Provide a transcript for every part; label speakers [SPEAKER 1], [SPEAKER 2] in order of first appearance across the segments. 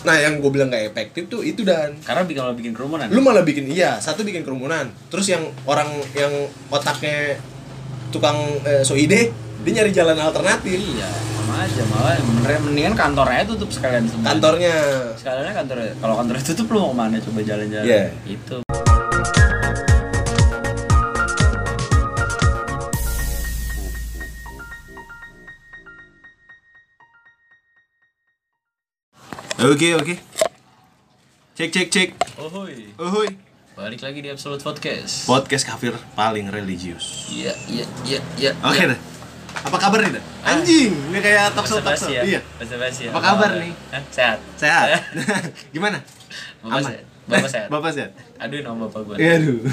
[SPEAKER 1] Nah yang gue bilang gak efektif tuh itu dan
[SPEAKER 2] Karena bikin kalau bikin kerumunan.
[SPEAKER 1] lu malah bikin iya satu bikin kerumunan terus yang orang yang otaknya tukang eh, so ide dia nyari jalan alternatif
[SPEAKER 2] Iya, sama aja malah bener mendingan kantornya tutup sekalian semua.
[SPEAKER 1] kantornya
[SPEAKER 2] Sekalian kantor kalau kantornya tutup lu mau kemana coba jalan-jalan. Gitu.
[SPEAKER 1] Iya.
[SPEAKER 2] Itu.
[SPEAKER 3] Oke oke. Cek cek cek.
[SPEAKER 2] Ohoi.
[SPEAKER 3] Uhuy.
[SPEAKER 2] Balik lagi di Absolute Podcast.
[SPEAKER 3] Podcast kafir paling religius.
[SPEAKER 2] Iya, iya, iya, iya.
[SPEAKER 3] Oke
[SPEAKER 2] iya.
[SPEAKER 3] dah. Apa kabar nih dah?
[SPEAKER 1] Ah.
[SPEAKER 3] Anjing, ini kayak talkshow
[SPEAKER 2] Basa-basi
[SPEAKER 3] talkshow.
[SPEAKER 2] ya.
[SPEAKER 3] Iya.
[SPEAKER 2] Basa-basi ya.
[SPEAKER 3] Apa kabar nih?
[SPEAKER 2] Hah? Sehat.
[SPEAKER 3] Sehat. Gimana?
[SPEAKER 2] Bapak
[SPEAKER 3] Aman.
[SPEAKER 2] sehat. Bapak sehat.
[SPEAKER 3] Bapak sehat.
[SPEAKER 2] Aduin sama bapak gue.
[SPEAKER 3] Iya aduh.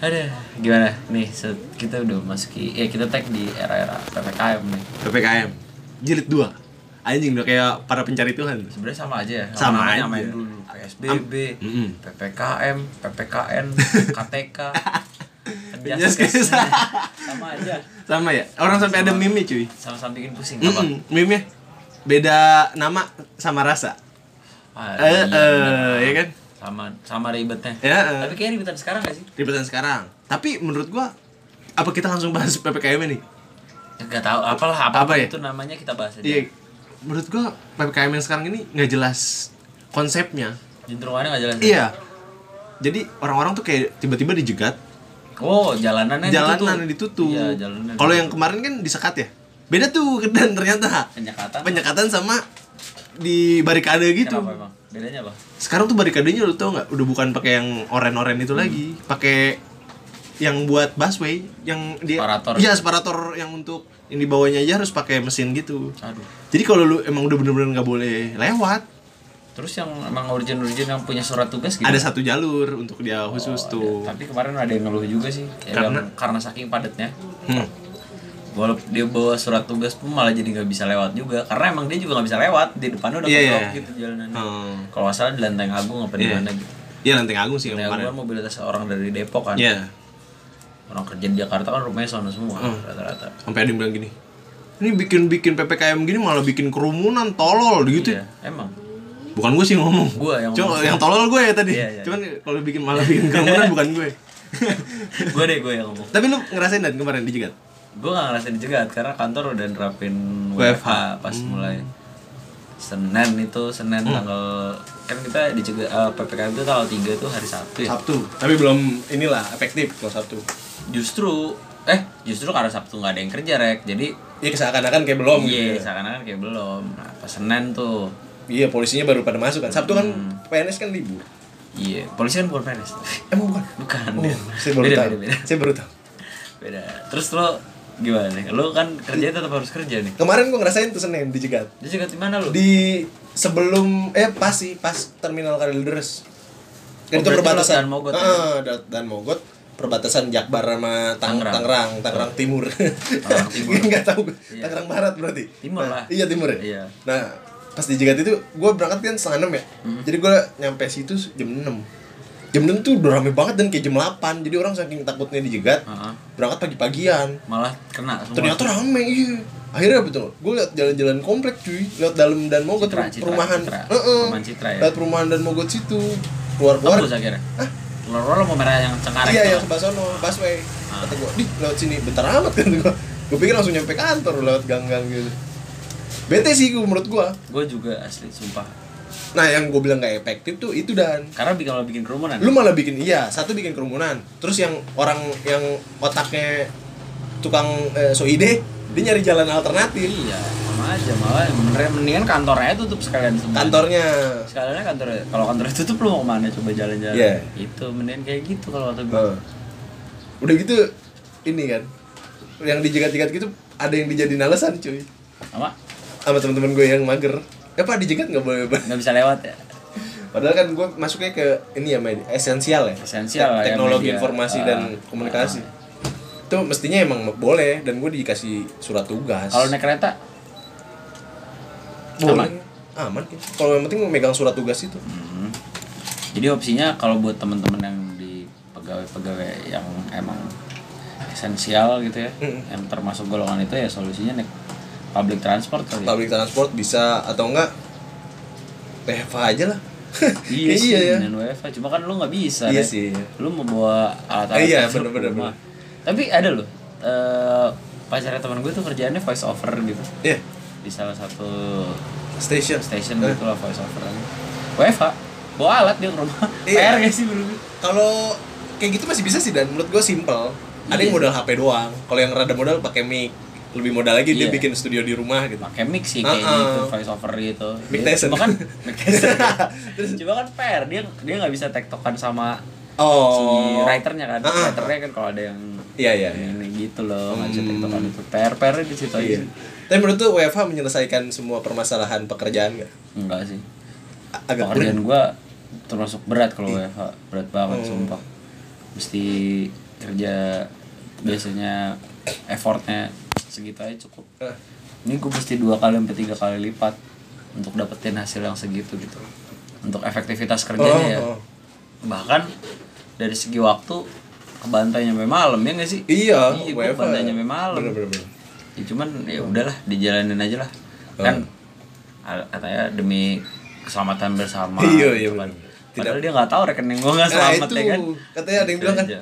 [SPEAKER 2] Ada gimana nih set, kita udah masuki eh kita tag di era-era PPKM nih.
[SPEAKER 3] PPKM jilid 2. Anjing udah kayak para pencari Tuhan.
[SPEAKER 2] Sebenarnya sama aja ya.
[SPEAKER 3] Sama
[SPEAKER 2] namanya
[SPEAKER 3] aja.
[SPEAKER 2] Main dulu PSBB,
[SPEAKER 3] Mm-mm.
[SPEAKER 2] PPKM, PPKN, KTK,
[SPEAKER 3] Iya, Penjaskesan.
[SPEAKER 2] Penjaskes. Kan sama aja.
[SPEAKER 3] Sama ya? Orang sampai ada
[SPEAKER 2] Sama.
[SPEAKER 3] meme cuy.
[SPEAKER 2] Sama-sama bikin pusing apa?
[SPEAKER 3] Mm-mm. Meme-nya beda nama sama rasa. Eh,
[SPEAKER 2] Ah, iya,
[SPEAKER 3] eh,
[SPEAKER 2] bener.
[SPEAKER 3] ya kan?
[SPEAKER 2] Sama sama ribetnya.
[SPEAKER 3] Ya, eh.
[SPEAKER 2] Tapi kayak ribetan sekarang gak sih?
[SPEAKER 3] Ribetan sekarang. Tapi menurut gua apa kita langsung bahas PPKM nih?
[SPEAKER 2] Gak tau, apalah apa,
[SPEAKER 3] Apa ya?
[SPEAKER 2] itu namanya kita bahas aja.
[SPEAKER 3] Iya, menurut gua PPKM yang sekarang ini nggak jelas konsepnya.
[SPEAKER 2] Jenderungannya gak jelas. ya?
[SPEAKER 3] Iya. Jadi orang-orang tuh kayak tiba-tiba dijegat,
[SPEAKER 2] Oh, jalanannya
[SPEAKER 3] jalanan ditutup.
[SPEAKER 2] Iya, jalanannya.
[SPEAKER 3] Kalau yang kemarin kan disekat ya. Beda tuh dan ternyata
[SPEAKER 2] penyekatan
[SPEAKER 3] penyekatan sama di barikade gitu.
[SPEAKER 2] Kenapa emang? Bedanya apa?
[SPEAKER 3] Sekarang tuh barikadenya lu tau nggak? Udah bukan pakai yang oren-oren
[SPEAKER 2] Hmm.
[SPEAKER 3] itu lagi, pakai yang buat busway, yang dia
[SPEAKER 2] Separator.
[SPEAKER 3] Iya, separator yang untuk yang di bawahnya aja harus pakai mesin gitu.
[SPEAKER 2] Aduh.
[SPEAKER 3] Jadi kalau lu emang udah bener-bener nggak boleh lewat,
[SPEAKER 2] Terus yang emang urgent-urgent yang punya surat tugas gitu?
[SPEAKER 3] ada satu jalur untuk dia khusus
[SPEAKER 2] Oh,
[SPEAKER 3] tuh.
[SPEAKER 2] ada. Tapi kemarin ada yang ngeluh juga sih. Ya,
[SPEAKER 3] Karena?
[SPEAKER 2] bang, karena saking padatnya.
[SPEAKER 3] Hmm.
[SPEAKER 2] Walaupun dia bawa surat tugas pun malah jadi nggak bisa lewat juga. Karena emang dia juga nggak bisa lewat. Di depannya udah
[SPEAKER 3] Iya,
[SPEAKER 2] keblok
[SPEAKER 3] iya.
[SPEAKER 2] gitu jalanannya.
[SPEAKER 3] Hmm.
[SPEAKER 2] Kalau nggak salah di Lenteng Agung apa di
[SPEAKER 3] Iya.
[SPEAKER 2] mana gitu.
[SPEAKER 3] Iya nanti Agung sih yang
[SPEAKER 2] Lenteng Agung kan
[SPEAKER 3] kemarin.
[SPEAKER 2] mobilitas orang dari Depok kan.
[SPEAKER 3] Iya.
[SPEAKER 2] Orang kerja di Jakarta kan rumahnya sana semua
[SPEAKER 3] Hmm.
[SPEAKER 2] rata-rata.
[SPEAKER 3] Sampai ada yang bilang gini. Ini bikin-bikin PPKM gini malah bikin kerumunan tolol gitu.
[SPEAKER 2] Iya, emang.
[SPEAKER 3] Bukan gue sih yang ngomong.
[SPEAKER 2] Gua yang
[SPEAKER 3] Cuma
[SPEAKER 2] ngomong.
[SPEAKER 3] yang tolol gue ya tadi.
[SPEAKER 2] Iya, iya,
[SPEAKER 3] Cuman kalau bikin malah bikin kerumunan bukan gue.
[SPEAKER 2] gue deh gue yang ngomong.
[SPEAKER 3] Tapi lu ngerasain dan kemarin dijegat.
[SPEAKER 2] gue gak ngerasain dijegat karena kantor udah nerapin
[SPEAKER 3] WFH.
[SPEAKER 2] WFH
[SPEAKER 1] Hmm.
[SPEAKER 2] pas mulai Senin itu Senin tanggal kan kita dijegat eh, PPKM itu tanggal 3 itu hari Sabtu ya.
[SPEAKER 1] Sabtu tapi belum inilah efektif kalau Sabtu
[SPEAKER 2] Justru eh justru karena Sabtu nggak ada yang kerja rek jadi
[SPEAKER 1] ya seakan-akan kayak belum gitu
[SPEAKER 2] iya
[SPEAKER 1] ya.
[SPEAKER 2] seakan-akan kayak belum nah, pas Senin tuh
[SPEAKER 1] iya polisinya baru pada masuk kan Sabtu kan
[SPEAKER 3] Hmm.
[SPEAKER 1] PNS kan libur
[SPEAKER 2] iya polisi kan bukan PNS
[SPEAKER 3] Eh,
[SPEAKER 1] emang bukan
[SPEAKER 2] bukan
[SPEAKER 1] Oh,
[SPEAKER 2] dia.
[SPEAKER 1] saya baru
[SPEAKER 2] beda,
[SPEAKER 1] tahu
[SPEAKER 2] beda, beda,
[SPEAKER 1] saya baru tahu
[SPEAKER 2] beda terus lo gimana nih lo kan kerja tetap harus kerja nih
[SPEAKER 1] kemarin gue ngerasain tuh Senin dijegat
[SPEAKER 2] dijegat di mana lo
[SPEAKER 1] di sebelum eh pas sih pas terminal Kalideres
[SPEAKER 2] Oh,
[SPEAKER 1] kan itu
[SPEAKER 2] berarti
[SPEAKER 1] perbatasan
[SPEAKER 2] lo Dan Mogot ya?
[SPEAKER 1] Heeh, Da- dan mogot perbatasan Jakbar sama Tang-
[SPEAKER 2] Tangerang.
[SPEAKER 1] Tangerang Tangerang Timur
[SPEAKER 2] Tangerang Timur.
[SPEAKER 1] nggak tahu gua.
[SPEAKER 2] Iya.
[SPEAKER 1] Tangerang Barat berarti
[SPEAKER 2] Timur
[SPEAKER 1] Nah,
[SPEAKER 2] lah.
[SPEAKER 1] iya Timur ya
[SPEAKER 2] Iya.
[SPEAKER 1] nah pas di Jagat itu gue berangkat kan setengah enam ya
[SPEAKER 2] Hmm.
[SPEAKER 1] jadi gue nyampe situ jam 6 jam 6 tuh udah rame banget dan kayak jam 8 jadi orang saking takutnya di Jagat
[SPEAKER 2] Heeh.
[SPEAKER 1] berangkat pagi-pagian
[SPEAKER 2] malah kena semua
[SPEAKER 1] ternyata rame iya akhirnya betul gue liat jalan-jalan komplek cuy liat dalam dan mogot
[SPEAKER 2] Citra,
[SPEAKER 1] ru-
[SPEAKER 2] Citra,
[SPEAKER 1] perumahan
[SPEAKER 2] Citra.
[SPEAKER 1] Heeh.
[SPEAKER 2] Perumahan Citra ya?
[SPEAKER 1] liat perumahan dan mogot situ keluar keluar
[SPEAKER 2] tembus akhirnya Telur lo mau merah yang cengkareng
[SPEAKER 1] iya
[SPEAKER 2] itu.
[SPEAKER 1] yang sebelah sono busway
[SPEAKER 2] Ah.
[SPEAKER 1] kata gue di lewat sini bentar amat kan gue gue pikir langsung nyampe kantor lewat gang-gang gitu bete sih gua, menurut gue
[SPEAKER 2] Gue juga asli, sumpah.
[SPEAKER 1] nah yang gue bilang gak efektif tuh itu dan
[SPEAKER 2] Karena bikin kalau bikin kerumunan.
[SPEAKER 1] lu malah bikin iya satu bikin kerumunan terus yang orang yang otaknya tukang eh, so ide dia nyari jalan alternatif
[SPEAKER 2] Iya, sama aja malah bener mendingan kantornya tutup sekalian semua.
[SPEAKER 1] kantornya
[SPEAKER 2] Sekaliannya kantor ya. kalau kantornya tutup lu mau kemana coba jalan-jalan.
[SPEAKER 1] Iya.
[SPEAKER 2] Itu mendingan kayak gitu kalau kata gue.
[SPEAKER 1] Heeh. Udah gitu ini kan yang dijegat-jegat gitu ada yang dijadiin alasan cuy
[SPEAKER 2] Apa?
[SPEAKER 1] sama teman-teman gue yang mager. Ya pak dijegat nggak boleh Pak?"
[SPEAKER 2] Nggak bisa lewat ya.
[SPEAKER 1] Padahal kan gue masuknya ke ini ya media, esensial ya.
[SPEAKER 2] Esensial lah ya,
[SPEAKER 1] teknologi
[SPEAKER 2] media.
[SPEAKER 1] informasi
[SPEAKER 2] Ah,
[SPEAKER 1] dan komunikasi. Itu mestinya emang boleh dan gue dikasih surat tugas.
[SPEAKER 2] Kalau naik kereta
[SPEAKER 1] boleh.
[SPEAKER 2] aman.
[SPEAKER 1] Aman. ya. Kalau yang penting megang surat tugas itu.
[SPEAKER 2] Hmm. Jadi opsinya kalau buat temen-temen yang di pegawai-pegawai yang emang esensial gitu ya,
[SPEAKER 1] Hmm.
[SPEAKER 2] yang termasuk golongan itu ya solusinya naik public transport kali. ya.
[SPEAKER 1] Public transport bisa atau enggak PHV aja lah Kayak
[SPEAKER 2] Iya sih,
[SPEAKER 1] iya ya
[SPEAKER 2] dengan WFH. Cuma kan lu nggak bisa.
[SPEAKER 1] Iya
[SPEAKER 2] Ren.
[SPEAKER 1] sih, iya.
[SPEAKER 2] Lu mau bawa alat-alat
[SPEAKER 1] Eh, iya,
[SPEAKER 2] kecil
[SPEAKER 1] bener, bener,
[SPEAKER 2] ke rumah. Tapi ada loh, eh, pacarnya teman gue tuh kerjaannya voice over gitu
[SPEAKER 1] Iya,
[SPEAKER 2] di salah satu
[SPEAKER 1] station
[SPEAKER 2] station
[SPEAKER 1] Eh,
[SPEAKER 2] gitu lah voice over WFH bawa alat dia ke rumah
[SPEAKER 1] Iya.
[SPEAKER 2] PR gak sih menurut lu?
[SPEAKER 1] kalau kayak gitu masih bisa sih dan menurut gue simple ada yang
[SPEAKER 2] Iya.
[SPEAKER 1] modal HP doang kalau yang rada modal pakai mic lebih modal lagi dia
[SPEAKER 2] Iya.
[SPEAKER 1] bikin studio di rumah gitu
[SPEAKER 2] pakai mix sih kayaknya
[SPEAKER 1] Uh-uh.
[SPEAKER 2] itu voice over gitu
[SPEAKER 1] Mic
[SPEAKER 2] Dia-
[SPEAKER 1] Tyson.
[SPEAKER 2] cuma kan mic Tyson. cuma kan PR dia dia nggak bisa tektokan sama si
[SPEAKER 1] oh
[SPEAKER 2] writernya kan
[SPEAKER 1] Ah, ah.
[SPEAKER 2] writernya kan kalau ada yang
[SPEAKER 1] iya iya iya
[SPEAKER 2] ini gitu loh nggak bisa
[SPEAKER 1] Hmm.
[SPEAKER 2] tektokan itu PR PR di situ aja
[SPEAKER 1] Iya.
[SPEAKER 2] sih.
[SPEAKER 1] Tapi menurut tuh WFH menyelesaikan semua permasalahan pekerjaan gak?
[SPEAKER 2] enggak sih
[SPEAKER 1] A- Agak Iya.
[SPEAKER 2] pekerjaan
[SPEAKER 1] pelit.
[SPEAKER 2] gua termasuk berat kalau WFH berat banget
[SPEAKER 1] Hmm.
[SPEAKER 2] sumpah mesti kerja biasanya effortnya segitu aja cukup
[SPEAKER 1] Eh,
[SPEAKER 2] ini gue mesti dua kali sampai tiga kali lipat untuk dapetin hasil yang segitu gitu untuk efektivitas kerjanya ya
[SPEAKER 1] Oh, oh.
[SPEAKER 2] bahkan dari segi waktu kebantainya sampai malam ya nggak sih
[SPEAKER 1] Iya,
[SPEAKER 2] iya gue
[SPEAKER 1] WFH.
[SPEAKER 2] kebantainya sampai malam
[SPEAKER 1] Bener, bener, bener. Oh.
[SPEAKER 2] ya cuman ya udahlah dijalanin aja lah kan al- katanya demi keselamatan bersama
[SPEAKER 1] Iya, iya,
[SPEAKER 2] gitu kan.
[SPEAKER 1] bener.
[SPEAKER 2] padahal dia nggak tahu rekening gue nggak selamat
[SPEAKER 1] Nah, itu,
[SPEAKER 2] ya kan
[SPEAKER 1] katanya ada yang
[SPEAKER 2] Gitu
[SPEAKER 1] bilang kan,
[SPEAKER 2] aja.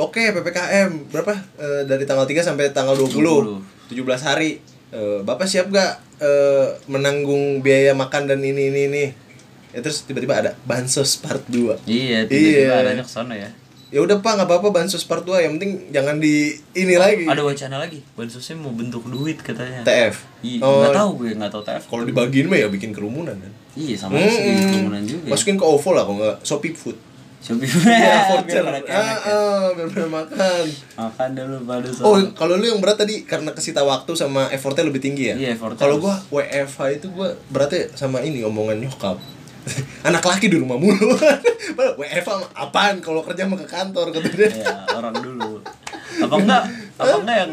[SPEAKER 1] Oke, PPKM berapa? Eh, dari tanggal 3 sampai tanggal 20. 17 hari. Eh, Bapak siap gak eh, menanggung biaya makan dan ini ini ini? Ya terus tiba-tiba ada bansos part 2.
[SPEAKER 2] iya
[SPEAKER 1] Iya.
[SPEAKER 2] tiba-tiba adanya kesana ya
[SPEAKER 1] Ya udah Pak, nggak apa-apa bansos part 2, yang penting jangan di
[SPEAKER 2] Oh,
[SPEAKER 1] ini lagi.
[SPEAKER 2] ada wacana lagi bansusnya mau bentuk duit katanya
[SPEAKER 1] TF.
[SPEAKER 2] Iya,
[SPEAKER 1] Oh,
[SPEAKER 2] nggak tahu gue nggak tahu TF.
[SPEAKER 1] Kalau dibagiin mah ya bikin kerumunan kan.
[SPEAKER 2] Iya sama
[SPEAKER 1] Mm-mm.
[SPEAKER 2] sih kerumunan Iya juga.
[SPEAKER 1] Masukin ke OVO lah kalau nggak Shopee Food.
[SPEAKER 2] Shopee
[SPEAKER 1] Iya,
[SPEAKER 2] biar
[SPEAKER 1] voucher.
[SPEAKER 2] pada
[SPEAKER 1] Ah,
[SPEAKER 2] kenek ya.
[SPEAKER 1] ah, biar pada makan.
[SPEAKER 2] Makan dulu baru sono.
[SPEAKER 1] Oh, kalau lu yang berat tadi karena kesita waktu sama effortnya lebih tinggi ya?
[SPEAKER 2] Iya, effortnya
[SPEAKER 1] Kalau gua WFH itu gua beratnya sama ini omongan nyokap. Anak laki di rumah mulu. Padahal WFH mah apaan kalau kerja mah ke kantor kata dia.
[SPEAKER 2] Iya, orang dulu. Apa enggak? Apa enggak yang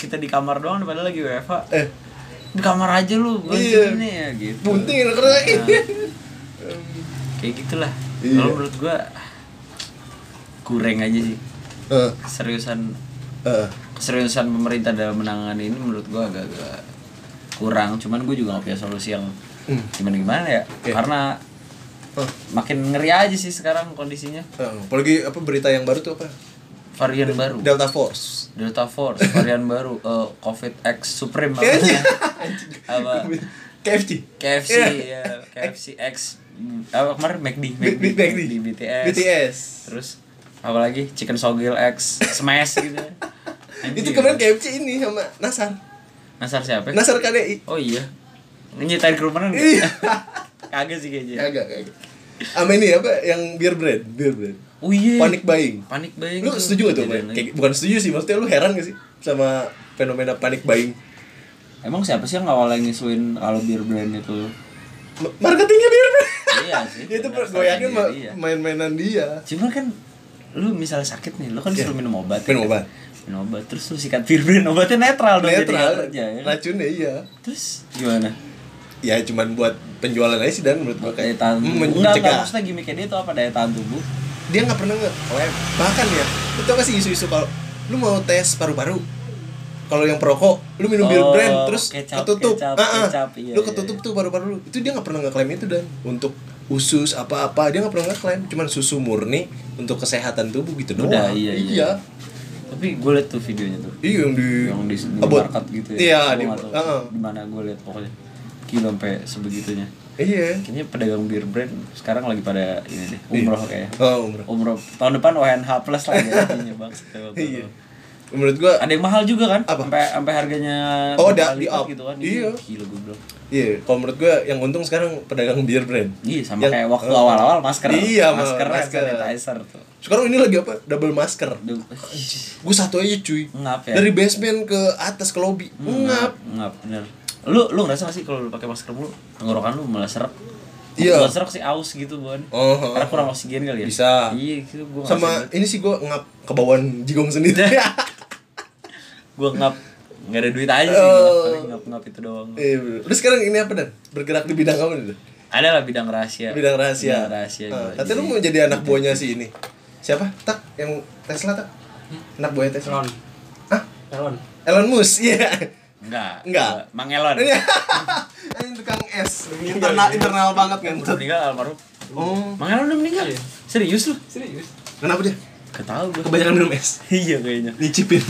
[SPEAKER 2] kita di kamar doang padahal lagi WFH.
[SPEAKER 1] Eh,
[SPEAKER 2] Di kamar aja lu, gue
[SPEAKER 1] Iya.
[SPEAKER 2] ini ya gitu.
[SPEAKER 1] bunting anak laki.
[SPEAKER 2] Kayak gitulah.
[SPEAKER 1] Iya.
[SPEAKER 2] Kalau menurut gua kurang aja sih
[SPEAKER 1] Heeh.
[SPEAKER 2] keseriusan
[SPEAKER 1] Heeh.
[SPEAKER 2] keseriusan pemerintah dalam menangani ini menurut gua agak-agak kurang cuman gue juga gak punya solusi yang
[SPEAKER 1] Hmm.
[SPEAKER 2] gimana gimana ya
[SPEAKER 1] Iya.
[SPEAKER 2] karena
[SPEAKER 1] Heeh.
[SPEAKER 2] makin ngeri aja sih sekarang kondisinya
[SPEAKER 1] Heeh. eh, Apalagi apa berita yang baru tuh apa?
[SPEAKER 2] varian baru
[SPEAKER 1] Delta Force.
[SPEAKER 2] Delta Force varian baru eh, COVID X Supreme apa
[SPEAKER 1] Kayaknya.
[SPEAKER 2] apa
[SPEAKER 1] KFC.
[SPEAKER 2] KFC
[SPEAKER 1] Iya.
[SPEAKER 2] ya KFC X mm, apa kemarin McD
[SPEAKER 1] Big Big Bang
[SPEAKER 2] McD,
[SPEAKER 1] nih.
[SPEAKER 2] BTS
[SPEAKER 1] BTS.
[SPEAKER 2] terus apa lagi Chicken Sogil X Smash gitu
[SPEAKER 1] Itu
[SPEAKER 2] Anjir.
[SPEAKER 1] kemarin KFC ini sama Nasar.
[SPEAKER 2] Nasar siapa
[SPEAKER 1] Nasar KDI.
[SPEAKER 2] oh iya nyitain kerumunan nggak?
[SPEAKER 1] Iya.
[SPEAKER 2] kagak sih kayaknya
[SPEAKER 1] Kagak, kagak. Sama ini apa yang beer brand, beer brand.
[SPEAKER 2] oh iya
[SPEAKER 1] Panic buying.
[SPEAKER 2] panik banget
[SPEAKER 1] Lu setuju gak tuh? Bang? Kayak, gitu? bukan setuju sih, maksudnya lu heran gak sih sama fenomena panic buying?
[SPEAKER 2] emang siapa sih yang awalnya ngisuin kalau beer brand itu
[SPEAKER 1] Ma- Marketingnya beer brand.
[SPEAKER 2] Iya sih,
[SPEAKER 1] Ya itu gue
[SPEAKER 2] benar, iya.
[SPEAKER 1] yakin
[SPEAKER 2] strategi
[SPEAKER 1] ma-
[SPEAKER 2] dia.
[SPEAKER 1] main-mainan dia.
[SPEAKER 2] Cuma kan lu misalnya sakit nih, lu kan disuruh minum obat. ya
[SPEAKER 1] Iya. Minum
[SPEAKER 2] kan?
[SPEAKER 1] obat.
[SPEAKER 2] Minum obat terus lu sikat virbrin obatnya netral dong jadi nggak
[SPEAKER 1] Netral,
[SPEAKER 2] kerja ya. kan?
[SPEAKER 1] racunnya iya.
[SPEAKER 2] Terus gimana?
[SPEAKER 1] Ya cuman buat penjualan aja sih dan menurut gue
[SPEAKER 2] Daya
[SPEAKER 1] kayak mm,
[SPEAKER 2] tahan tubuh. Enggak, enggak,
[SPEAKER 1] mencegah.
[SPEAKER 2] maksudnya gimmicknya dia itu apa daya tahan tubuh?
[SPEAKER 1] dia nggak pernah nge
[SPEAKER 2] Oh,
[SPEAKER 1] lab bahkan ya lu tau gak sih isu-isu kalau lu mau tes paru-paru kalau yang perokok lu minum bir
[SPEAKER 2] Oh,
[SPEAKER 1] brand terus
[SPEAKER 2] kecap,
[SPEAKER 1] ketutup
[SPEAKER 2] kecap,
[SPEAKER 1] Ah, ah.
[SPEAKER 2] kecap, iya,
[SPEAKER 1] lu
[SPEAKER 2] iya,
[SPEAKER 1] ketutup
[SPEAKER 2] iya.
[SPEAKER 1] tuh paru-paru lu itu dia nggak pernah ngeklaim itu dan untuk usus apa-apa dia nggak pernah ngeklaim cuman susu murni untuk kesehatan tubuh gitu doang
[SPEAKER 2] Udah, iya, iya.
[SPEAKER 1] iya
[SPEAKER 2] Tapi gue liat tuh videonya tuh.
[SPEAKER 1] Iya, yang di
[SPEAKER 2] Yang di, di
[SPEAKER 1] Abot.
[SPEAKER 2] market gitu ya.
[SPEAKER 1] iya
[SPEAKER 2] Gua
[SPEAKER 1] di
[SPEAKER 2] nggak tahu
[SPEAKER 1] ah, ah.
[SPEAKER 2] di mana gue liat pokoknya. Gila sampai sebegitunya.
[SPEAKER 1] iya
[SPEAKER 2] Kayaknya pedagang beer brand sekarang lagi pada ini deh, umroh kayaknya.
[SPEAKER 1] oh umroh
[SPEAKER 2] Umroh tahun depan ONH plus lagi ya, kayaknya bang.
[SPEAKER 1] iya menurut gua
[SPEAKER 2] ada yang mahal juga kan
[SPEAKER 1] Apa?
[SPEAKER 2] sampai sampai harganya
[SPEAKER 1] Oh, da-
[SPEAKER 2] berapa
[SPEAKER 1] di
[SPEAKER 2] lipat
[SPEAKER 1] up.
[SPEAKER 2] gitu kan
[SPEAKER 1] Iya.
[SPEAKER 2] gila gue bilang
[SPEAKER 1] Iya, kalau menurut gue yang untung sekarang pedagang beer brand.
[SPEAKER 2] iya sama
[SPEAKER 1] Yang-
[SPEAKER 2] kayak waktu
[SPEAKER 1] Oh.
[SPEAKER 2] awal-awal masker
[SPEAKER 1] Iya,
[SPEAKER 2] masker,
[SPEAKER 1] masker.
[SPEAKER 2] sanitizer tuh
[SPEAKER 1] Sekarang ini lagi apa? Double masker.
[SPEAKER 2] Aduh,
[SPEAKER 1] Gue satu aja cuy.
[SPEAKER 2] ngap ya
[SPEAKER 1] Dari basement ke atas ke lobby.
[SPEAKER 2] Hmm,
[SPEAKER 1] Ngap.
[SPEAKER 2] ngap bener lu lu ngerasa gak sih kalau lu pakai masker mulu tenggorokan lu malah serak
[SPEAKER 1] Iya.
[SPEAKER 2] Bukan serak sih aus gitu bon
[SPEAKER 1] Oh, oh,
[SPEAKER 2] karena kurang oksigen kali ya
[SPEAKER 1] Bisa.
[SPEAKER 2] iya gitu gue
[SPEAKER 1] Sama ini sih gue ngap kebawaan jigong sendiri. Iya.
[SPEAKER 2] gue ngap nggak ada duit aja sih
[SPEAKER 1] Oh.
[SPEAKER 2] ngap ngap itu doang
[SPEAKER 1] Iya, bener. Terus sekarang ini apa dan? Bergerak di bidang apa dan?
[SPEAKER 2] ada lah bidang rahasia
[SPEAKER 1] Bidang rahasia.
[SPEAKER 2] Ya, bidang rahasia
[SPEAKER 1] Ah,
[SPEAKER 2] gua. Iya.
[SPEAKER 1] Tapi lu
[SPEAKER 2] Jadi- gitu.
[SPEAKER 1] mau jadi anak buahnya si ini. Siapa? Tak yang Tesla tak? Anak buahnya
[SPEAKER 4] Hmm.
[SPEAKER 1] Tesla.
[SPEAKER 4] Elon
[SPEAKER 1] Ah,
[SPEAKER 4] Elon
[SPEAKER 1] Elon Musk. Iya.
[SPEAKER 2] Enggak.
[SPEAKER 1] Enggak.
[SPEAKER 2] Mang Elon.
[SPEAKER 1] Ini tukang es,
[SPEAKER 4] Iya,
[SPEAKER 1] internal internal banget kan.
[SPEAKER 2] Udah meninggal almarhum.
[SPEAKER 1] Oh,
[SPEAKER 2] Mang Elon udah meninggal ya? Serius lu?
[SPEAKER 4] Serius?
[SPEAKER 1] kenapa dia?
[SPEAKER 2] Gak tau gue.
[SPEAKER 1] Kebanyakan minum es.
[SPEAKER 2] iya kayaknya.
[SPEAKER 1] Nyicipin.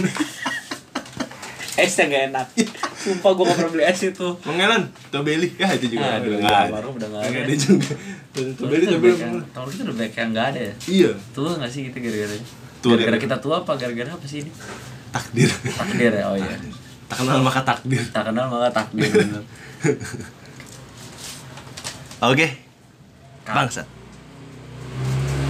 [SPEAKER 2] Esnya gak enak. Sumpah gue gak pernah beli es itu.
[SPEAKER 1] Mengelan, Tobeli. Ya itu juga.
[SPEAKER 2] Aduh,
[SPEAKER 1] Nggak ada.
[SPEAKER 2] almarhum udah gak
[SPEAKER 1] Nggak
[SPEAKER 2] ada. kan.
[SPEAKER 1] ada juga. Tobeli
[SPEAKER 2] Tahun itu
[SPEAKER 1] tapi
[SPEAKER 2] udah banyak- tahun itu udah banyak yang gak ada ya.
[SPEAKER 1] iya,
[SPEAKER 2] Tua gak sih kita gara-gara?
[SPEAKER 1] Tua
[SPEAKER 2] Gara-gara
[SPEAKER 1] gara-gara.
[SPEAKER 2] kita tua apa gara-gara apa sih ini?
[SPEAKER 1] takdir.
[SPEAKER 2] Takdir ya, oh iya.
[SPEAKER 1] Tak kenal maka takdir.
[SPEAKER 2] Tak kenal maka takdir.
[SPEAKER 3] Oke.
[SPEAKER 2] Kak.
[SPEAKER 3] Bangsat.